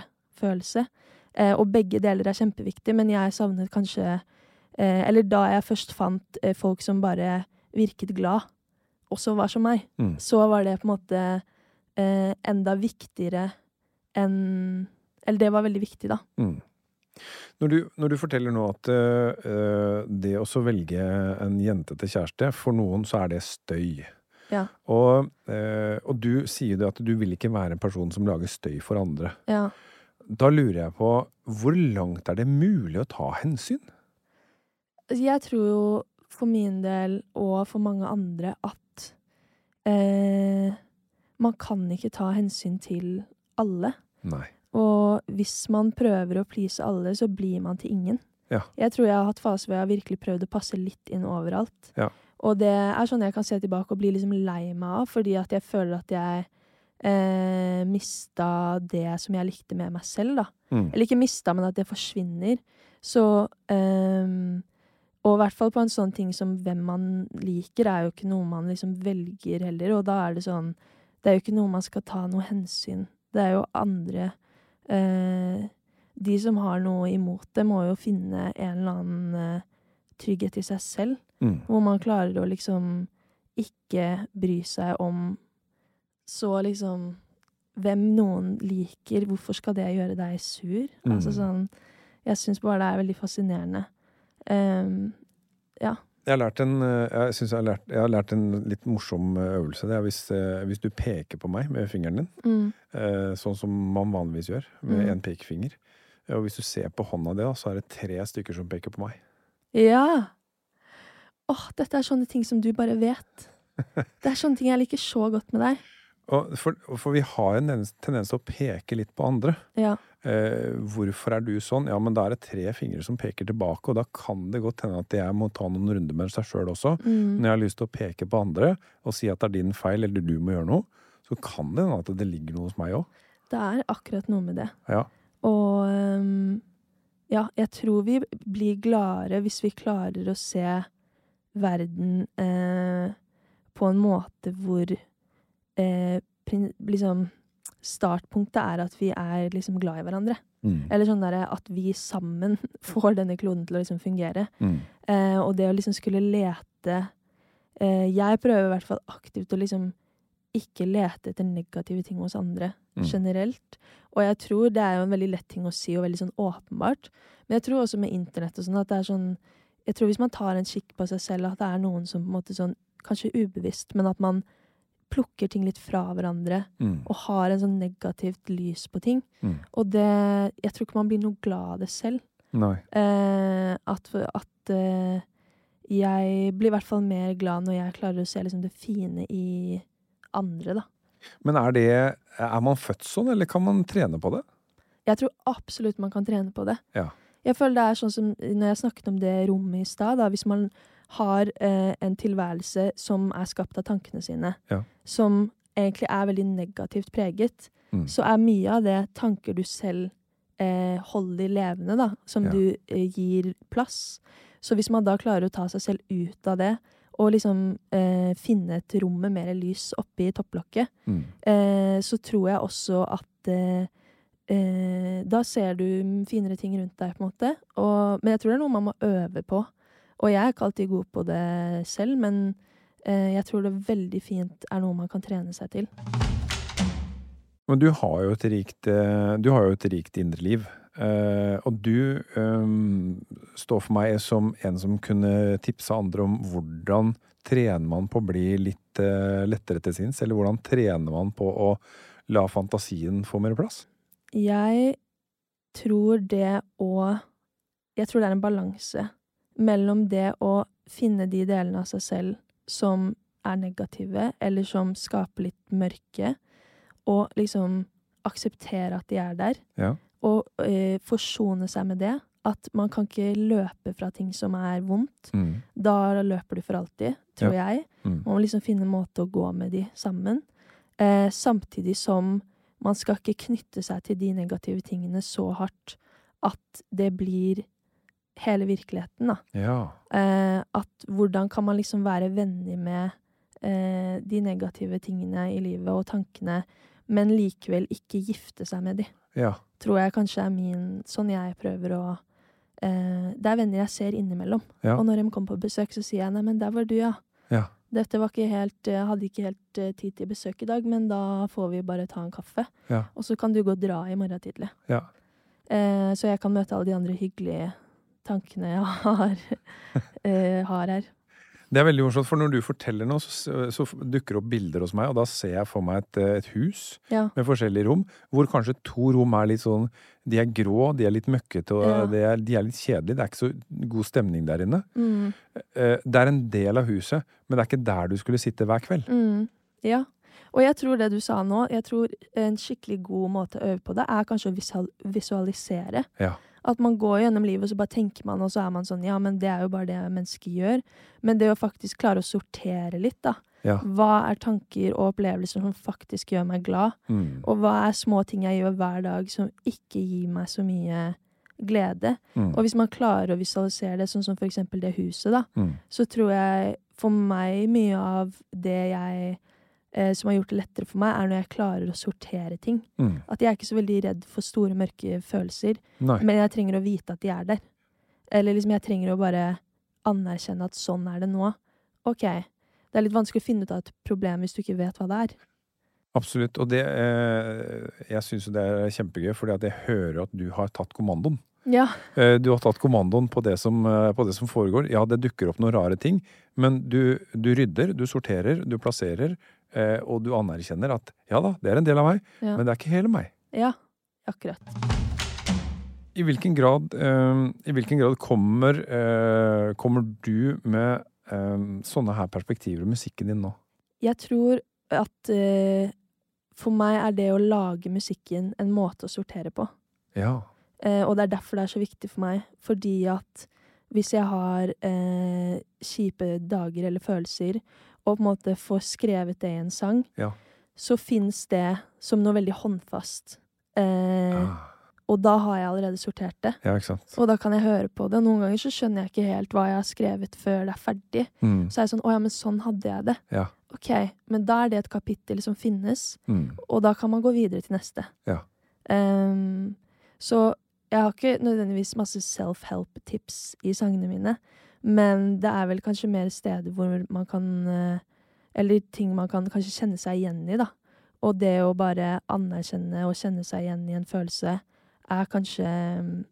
[SPEAKER 3] andre-følelse. Eh, og begge deler er kjempeviktig, men jeg savnet kanskje eh, Eller da jeg først fant eh, folk som bare virket glad, også var som meg,
[SPEAKER 2] Mm.
[SPEAKER 3] så var det på en måte eh, enda viktigere enn Eller det var veldig viktig, da.
[SPEAKER 2] Mm. Når, du, når du forteller nå at eh, det å så velge en jente til kjæreste, for noen så er det støy.
[SPEAKER 3] Ja.
[SPEAKER 2] Og, eh, og du sier det at du vil ikke være en person som lager støy for andre.
[SPEAKER 3] ja.
[SPEAKER 2] Da lurer jeg på hvor langt er det mulig å ta hensyn?
[SPEAKER 3] Altså, Jeg tror jo for min del og for mange andre at eh, man kan ikke ta hensyn til alle.
[SPEAKER 2] Nei.
[SPEAKER 3] Og hvis man prøver å please alle, så blir man til ingen.
[SPEAKER 2] Ja.
[SPEAKER 3] Jeg tror jeg har hatt faser hvor jeg har virkelig prøvd å passe litt inn overalt.
[SPEAKER 2] Ja.
[SPEAKER 3] Og det er sånn jeg kan se tilbake og bli liksom lei meg av, fordi at jeg føler at jeg eh, mista det som jeg likte med meg selv, da.
[SPEAKER 2] Mm.
[SPEAKER 3] Eller ikke mista, men at det forsvinner. Så ehm, Og i hvert fall på en sånn ting som hvem man liker, er jo ikke noe man liksom velger heller. Og da er det sånn Det er jo ikke noe man skal ta noe hensyn. Det er jo andre eh, De som har noe imot det, må jo finne en eller annen eh, trygghet i seg selv.
[SPEAKER 2] Mm.
[SPEAKER 3] Hvor man klarer å liksom ikke bry seg om så liksom hvem noen liker. Hvorfor skal det gjøre deg sur?
[SPEAKER 2] Mm.
[SPEAKER 3] Altså sånn Jeg syns bare det er veldig fascinerende. Ehm,
[SPEAKER 2] Jeg har lært en, eh, jeg synes jeg har lært, jeg har lært en litt morsom eh, øvelse. Det er hvis, eh, hvis du peker på meg med fingeren din,
[SPEAKER 3] mm,
[SPEAKER 2] eh, sånn som man vanligvis gjør, med
[SPEAKER 3] Mm.
[SPEAKER 2] en pekefinger. Eh, Og hvis du ser på hånda di, da, så er det tre stykker som peker på meg.
[SPEAKER 3] ja! Åh, dette er sånne ting som du bare
[SPEAKER 2] *laughs*
[SPEAKER 3] vet. Det er sånne ting jeg liker så godt med deg.
[SPEAKER 2] Og for, for vi har en tendens- tendens til å peke litt på andre.
[SPEAKER 3] Ja.
[SPEAKER 2] Eh, hvorfor er du sånn? Ja, men da er det tre fingre som peker tilbake, og da kan det godt hende at jeg må ta noen runder med seg sjøl også.
[SPEAKER 3] mm.
[SPEAKER 2] Når jeg har lyst til å peke på andre og si at det er din feil, eller du må gjøre noe, så kan det hende at det ligger noe hos meg òg.
[SPEAKER 3] Det er akkurat noe med det.
[SPEAKER 2] Ja.
[SPEAKER 3] Og ehm, ja, jeg tror vi blir gladere hvis vi klarer å se verden eh, på en måte hvor eh, prin- liksom Startpunktet er at vi er liksom glad i hverandre.
[SPEAKER 2] Mm.
[SPEAKER 3] Eller sånn derre at vi sammen *laughs* får denne kloden til å liksom fungere.
[SPEAKER 2] Mm.
[SPEAKER 3] Eh, og det å liksom skulle lete eh, Jeg prøver i hvert fall aktivt å liksom ikke lete etter negative ting hos andre
[SPEAKER 2] Mm.
[SPEAKER 3] generelt. Og jeg tror det er jo en veldig lett ting å si, og veldig sånn åpenbart. Men jeg tror også med internett og sånn at det er sånn Jeg tror hvis man tar en kikk på seg selv, at det er noen som på en måte sånn Kanskje ubevisst, men at man plukker ting litt fra hverandre
[SPEAKER 2] Mm.
[SPEAKER 3] og har en sånn negativt lys på ting.
[SPEAKER 2] Mm.
[SPEAKER 3] Og det Jeg tror ikke man blir noe glad av det selv.
[SPEAKER 2] Nei.
[SPEAKER 3] Eh, at at eh, jeg blir i hvert fall mer glad når jeg klarer å se liksom, det fine i andre, da.
[SPEAKER 2] Men er det Er man født sånn, eller kan man trene på det?
[SPEAKER 3] Jeg tror absolutt man kan trene på det.
[SPEAKER 2] Ja.
[SPEAKER 3] Jeg føler det er sånn som når jeg snakket om det rommet i stad, da, hvis man har eh, en tilværelse som er skapt av tankene sine,
[SPEAKER 2] Ja.
[SPEAKER 3] som egentlig er veldig negativt preget,
[SPEAKER 2] Mm.
[SPEAKER 3] så er mye av det tanker du selv eh, holder levende, da, som
[SPEAKER 2] Ja.
[SPEAKER 3] du eh, gir plass. Så hvis man da klarer å ta seg selv ut av det, og liksom eh, finne et rom med mer lys oppi topplokket,
[SPEAKER 2] Mm.
[SPEAKER 3] eh, så tror jeg også at eh, eh, Da ser du finere ting rundt deg, på en måte. Og, men jeg tror det er noe man må øve på. Og jeg er ikke alltid god på det selv, men eh, jeg tror det veldig fint er noe man kan trene seg til.
[SPEAKER 2] Men du har jo et rikt, eh, du har jo et rikt indre liv. Eh, og du eh, står for meg som en som kunne tipse andre om hvordan trener man på å bli litt eh, lettere til sinns, eller hvordan trener man på å la fantasien få mer plass?
[SPEAKER 3] Jeg tror det å Jeg tror det er en balanse mellom det å finne de delene av seg selv som er negative, eller som skaper litt mørke, og liksom akseptere at de er der,
[SPEAKER 2] Ja.
[SPEAKER 3] og eh, forsone seg med det. At man kan ikke løpe fra ting som er vondt.
[SPEAKER 2] Mm.
[SPEAKER 3] Da løper du for alltid, tror jeg.
[SPEAKER 2] Mm.
[SPEAKER 3] Man må liksom finne en måte å gå med de sammen. Eh, samtidig som man skal ikke knytte seg til de negative tingene så hardt at det blir hele virkeligheten, da.
[SPEAKER 2] Ja.
[SPEAKER 3] Eh, at hvordan kan man liksom være venner med eh, de negative tingene i livet og tankene, men likevel ikke gifte seg med de
[SPEAKER 2] Ja.
[SPEAKER 3] tror jeg kanskje er min Sånn jeg prøver å eh, Det er venner jeg ser innimellom.
[SPEAKER 2] Ja.
[SPEAKER 3] Og når de kommer på besøk, så sier jeg 'nei, men der var du, ja'.
[SPEAKER 2] Ja.
[SPEAKER 3] Dette var ikke helt Jeg hadde ikke helt eh, tid til besøk i dag, men da får vi bare ta en kaffe.
[SPEAKER 2] Ja.
[SPEAKER 3] Og så kan du gå og dra i morgen tidlig.
[SPEAKER 2] Ja.
[SPEAKER 3] Eh, så jeg kan møte alle de andre hyggelige tankene
[SPEAKER 2] *laughs*
[SPEAKER 3] jeg har, eh, har her.
[SPEAKER 2] Det er veldig morsomt, for når du forteller noe, så, så dukker det opp bilder hos meg, og da ser jeg for meg et, eh, et hus.
[SPEAKER 3] Ja.
[SPEAKER 2] med forskjellige rom, hvor kanskje to rom er litt sånn De er grå, de er litt møkkete, og
[SPEAKER 3] Ja.
[SPEAKER 2] det er, de er litt kjedelige. Det er ikke så god stemning der inne.
[SPEAKER 3] Mm.
[SPEAKER 2] Eh, Det er en del av huset, men det er ikke der du skulle sitte hver kveld.
[SPEAKER 3] Mm, ja. Og jeg tror det du sa nå, jeg tror en skikkelig god måte å øve på det, er kanskje å visual visualisere.
[SPEAKER 2] Ja.
[SPEAKER 3] At man går gjennom livet, og så bare tenker man, og så er man sånn Ja, men det er jo bare det mennesket gjør. Men det å faktisk klare å sortere litt, da.
[SPEAKER 2] Ja.
[SPEAKER 3] Hva er tanker og opplevelser som faktisk gjør meg glad?
[SPEAKER 2] Mm.
[SPEAKER 3] Og hva er små ting jeg gjør hver dag som ikke gir meg så mye glede?
[SPEAKER 2] Mm.
[SPEAKER 3] Og hvis man klarer å visualisere det, sånn som for eksempel det huset, da
[SPEAKER 2] Mm.
[SPEAKER 3] så tror jeg for meg mye av det jeg eh, som har gjort det lettere for meg, er når jeg klarer å sortere ting.
[SPEAKER 2] Mm.
[SPEAKER 3] At jeg er ikke så veldig redd for store, mørke følelser,
[SPEAKER 2] Nei.
[SPEAKER 3] men jeg trenger å vite at de er der. Eller liksom jeg trenger å bare anerkjenne at sånn er det nå. Ok, det er litt vanskelig å finne ut av et problem hvis du ikke vet hva det er.
[SPEAKER 2] Absolutt. Og det eh, Jeg syns jo det er kjempegøy, fordi at jeg hører at du har tatt kommandoen.
[SPEAKER 3] Ja.
[SPEAKER 2] Eh, Du har tatt kommandoen på det som, eh, på det som foregår. Ja, det dukker opp noen rare ting, men du, du rydder, du sorterer, du plasserer, eh, og du anerkjenner at ja da, det er en del av meg,
[SPEAKER 3] Ja.
[SPEAKER 2] men det er ikke hele meg.
[SPEAKER 3] Ja, akkurat.
[SPEAKER 2] I hvilken grad, eh, i hvilken grad kommer, eh, kommer du med eh, sånne her perspektiver i musikken din nå?
[SPEAKER 3] Jeg tror at eh, for meg er det å lage musikken en måte å sortere på.
[SPEAKER 2] Ja.
[SPEAKER 3] Eh, og det er derfor det er så viktig for meg. Fordi at hvis jeg har eh, kjipe dager eller følelser, og på en måte får skrevet det i en sang,
[SPEAKER 2] Ja.
[SPEAKER 3] så fins det som noe veldig håndfast. Eh,
[SPEAKER 2] Ah,
[SPEAKER 3] Og da har jeg allerede sortert det.
[SPEAKER 2] ja, ikke sant.
[SPEAKER 3] Og da kan jeg høre på det. Og noen ganger så skjønner jeg ikke helt hva jeg har skrevet før det er ferdig.
[SPEAKER 2] Mm,
[SPEAKER 3] Så er jeg sånn Å ja, men sånn hadde jeg det.
[SPEAKER 2] ja.
[SPEAKER 3] Ok, men da er det et kapittel som finnes.
[SPEAKER 2] Mm,
[SPEAKER 3] Og da kan man gå videre til neste.
[SPEAKER 2] Ja.
[SPEAKER 3] Ehm, så jeg har ikke nødvendigvis masse self-help-tips i sangene mine, men det er vel kanskje mer steder hvor man kan eh, Eller ting man kan kanskje kjenne seg igjen i, da. Og det å bare anerkjenne og kjenne seg igjen i en følelse er kanskje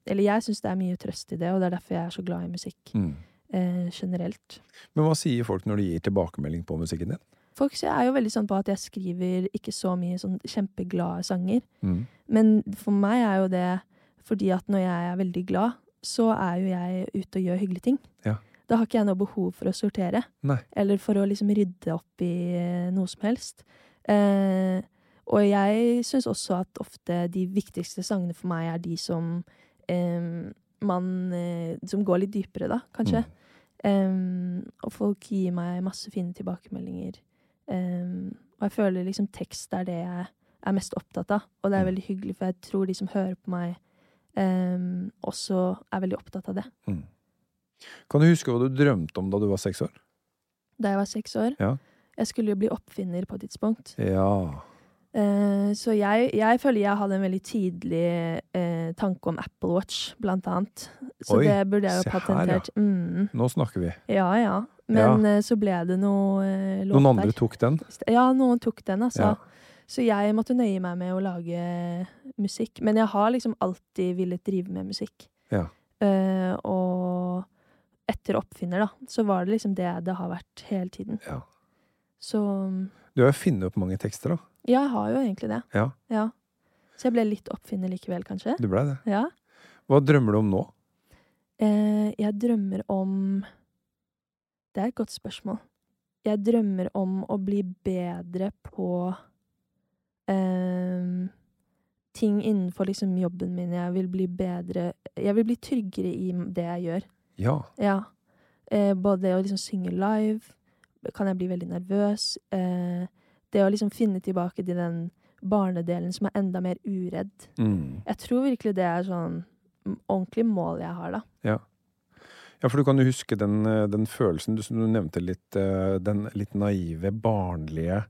[SPEAKER 3] Eller jeg syns det er mye trøst i det, og det er derfor jeg er så glad i musikk
[SPEAKER 2] mm.
[SPEAKER 3] eh, generelt.
[SPEAKER 2] Men hva sier folk når de gir tilbakemelding på musikken din?
[SPEAKER 3] Folk ser- er jo veldig sånn på at jeg skriver ikke så mye sånn kjempeglade sanger.
[SPEAKER 2] Mm.
[SPEAKER 3] Men for meg er jo det fordi at når jeg er veldig glad, så er jo jeg ute og gjør hyggelige ting.
[SPEAKER 2] Ja.
[SPEAKER 3] Da har ikke jeg noe behov for å sortere,
[SPEAKER 2] Nei.
[SPEAKER 3] eller for å liksom rydde opp i eh, noe som helst. Eh, og jeg syns også at ofte de viktigste sangene for meg er de som eh, man eh, Som går litt dypere, da, kanskje.
[SPEAKER 2] Mm.
[SPEAKER 3] Em, og folk gir meg masse fine tilbakemeldinger. Em, og jeg føler liksom tekst er det jeg er mest opptatt av. Og
[SPEAKER 2] Mm.
[SPEAKER 3] det er veldig hyggelig, for jeg tror de som hører på meg, em, også Ehm, er veldig opptatt av det.
[SPEAKER 2] Kan du huske hva du drømte om da du var seks år?
[SPEAKER 3] Da jeg var seks år
[SPEAKER 2] Ja.
[SPEAKER 3] Jeg skulle jo bli oppfinner på et tidspunkt.
[SPEAKER 2] Ja.
[SPEAKER 3] Eh, så jeg, jeg føler jeg hadde en veldig tidlig eh, tanke om Apple Watch, blant annet. Så
[SPEAKER 2] Oi,
[SPEAKER 3] det burde
[SPEAKER 2] se
[SPEAKER 3] jeg jo
[SPEAKER 2] her,
[SPEAKER 3] patentert. Mm,
[SPEAKER 2] Nå snakker vi.
[SPEAKER 3] ja ja. Men eh, så ble det noe eh, låt
[SPEAKER 2] Noen andre
[SPEAKER 3] der.
[SPEAKER 2] tok den.
[SPEAKER 3] Ja, noen tok den,
[SPEAKER 2] Ja.
[SPEAKER 3] altså. Så jeg måtte nøye meg med å lage eh, musikk. Men jeg har liksom alltid villet drive med musikk.
[SPEAKER 2] Ja.
[SPEAKER 3] Eh, og etter Oppfinner, da, så var det liksom det det har vært hele tiden.
[SPEAKER 2] Ja.
[SPEAKER 3] Så mm,
[SPEAKER 2] Du har jo funnet opp mange tekster, da.
[SPEAKER 3] ja, jeg har jo egentlig det.
[SPEAKER 2] Ja.
[SPEAKER 3] Så jeg ble litt oppfinner likevel, kanskje.
[SPEAKER 2] Du blei det.
[SPEAKER 3] Ja.
[SPEAKER 2] Hva drømmer du om nå?
[SPEAKER 3] Eh, jeg drømmer om Det er et godt spørsmål. Jeg drømmer om å bli bedre på eh, ting innenfor liksom jobben min. Jeg vil bli bedre Jeg vil bli tryggere i m- det jeg gjør.
[SPEAKER 2] Ja.
[SPEAKER 3] Ja. Eh, både det å liksom synge live Kan jeg bli veldig nervøs? Eh, det å liksom finne tilbake til den barnedelen som er enda mer uredd.
[SPEAKER 2] Mm.
[SPEAKER 3] Jeg tror virkelig det er sånn m- ordentlig mål jeg har, da.
[SPEAKER 2] Ja, for du kan jo huske den, eh, den følelsen du, som du nevnte litt, eh, den litt naive, barnlige,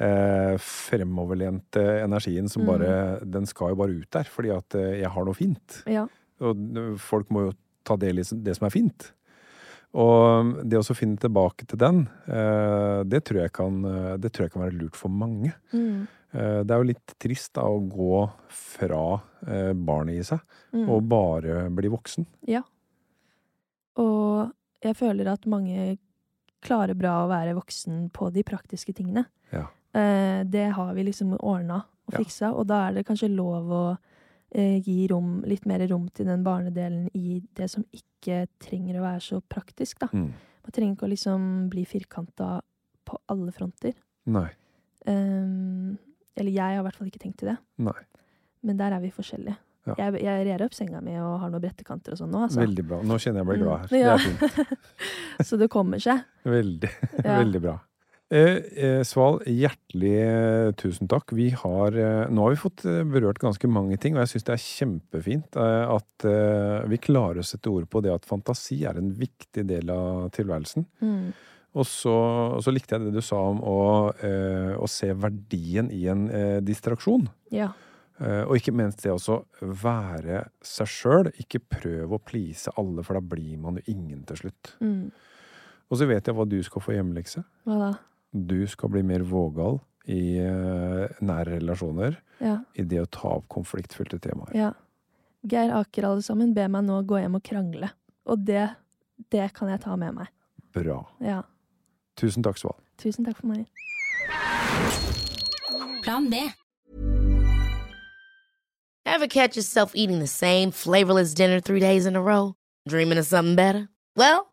[SPEAKER 2] eh, fremoverlente energien som bare Den skal jo bare ut der, fordi at eh, jeg har noe fint.
[SPEAKER 3] Ja.
[SPEAKER 2] Og eh, folk må jo ta del i s- det som er fint. Og mm, det å så finne tilbake til den, eh, det tror jeg kan, eh, det tror jeg kan være lurt for mange.
[SPEAKER 3] Mm.
[SPEAKER 2] Eh, Det er jo litt trist da, å gå fra eh, barnet i seg
[SPEAKER 3] Mm.
[SPEAKER 2] og bare bli voksen.
[SPEAKER 3] ja. Og jeg føler at mange klarer bra å være voksen på de praktiske tingene.
[SPEAKER 2] Ja.
[SPEAKER 3] Eh, det har vi liksom ordna og
[SPEAKER 2] Ja.
[SPEAKER 3] fiksa, og da er det kanskje lov å eh, gi rom, litt mer rom til den barnedelen i det som ikke trenger å være så praktisk, da.
[SPEAKER 2] Mm.
[SPEAKER 3] Man trenger ikke å liksom bli firkanta på alle fronter.
[SPEAKER 2] Nei.
[SPEAKER 3] Eh, eller jeg har i hvert fall ikke tenkt til det.
[SPEAKER 2] Nei.
[SPEAKER 3] Men der er vi forskjellige.
[SPEAKER 2] Ja.
[SPEAKER 3] Jeg, jeg rer opp senga mi og har noen brettekanter og sånn nå, altså.
[SPEAKER 2] Veldig bra. Nå kjenner jeg jeg blir glad her.
[SPEAKER 3] Mm.
[SPEAKER 2] Det
[SPEAKER 3] Ja.
[SPEAKER 2] er
[SPEAKER 3] *laughs*
[SPEAKER 2] fint.
[SPEAKER 3] Så det
[SPEAKER 2] *laughs*
[SPEAKER 3] kommer seg.
[SPEAKER 2] Veldig,
[SPEAKER 3] Ja.
[SPEAKER 2] veldig bra. Eh, eh, Sval, hjertelig eh, tusen takk. Vi har, eh, nå har vi fått eh, berørt ganske mange ting, og jeg syns det er kjempefint eh, at eh, vi klarer å sette ord på det at fantasi er en viktig del av tilværelsen.
[SPEAKER 3] Mm.
[SPEAKER 2] Og så, og så likte jeg det du sa om å, eh, å se verdien i en eh, distraksjon.
[SPEAKER 3] Ja.
[SPEAKER 2] Eh, og ikke minst det også være seg sjøl. Ikke prøv å please alle, for da blir man jo ingen til slutt.
[SPEAKER 3] Mm.
[SPEAKER 2] Og så vet jeg hva du skal få i hjemmelekse.
[SPEAKER 3] Hva da?
[SPEAKER 2] Du skal bli mer vågal i eh, nære relasjoner.
[SPEAKER 3] Ja.
[SPEAKER 2] I det å ta opp konfliktfylte temaer.
[SPEAKER 3] ja. Geir Aker, alle sammen, ber meg nå gå hjem og krangle. Og det, det kan jeg ta med meg.
[SPEAKER 2] Bra.
[SPEAKER 3] Ja.
[SPEAKER 2] Tusen takk, Sval.
[SPEAKER 3] Tusen takk for meg.
[SPEAKER 4] Plan B.
[SPEAKER 5] Ever catch yourself eating the same flavorless dinner three days in a row? Dreaming of something better? Well,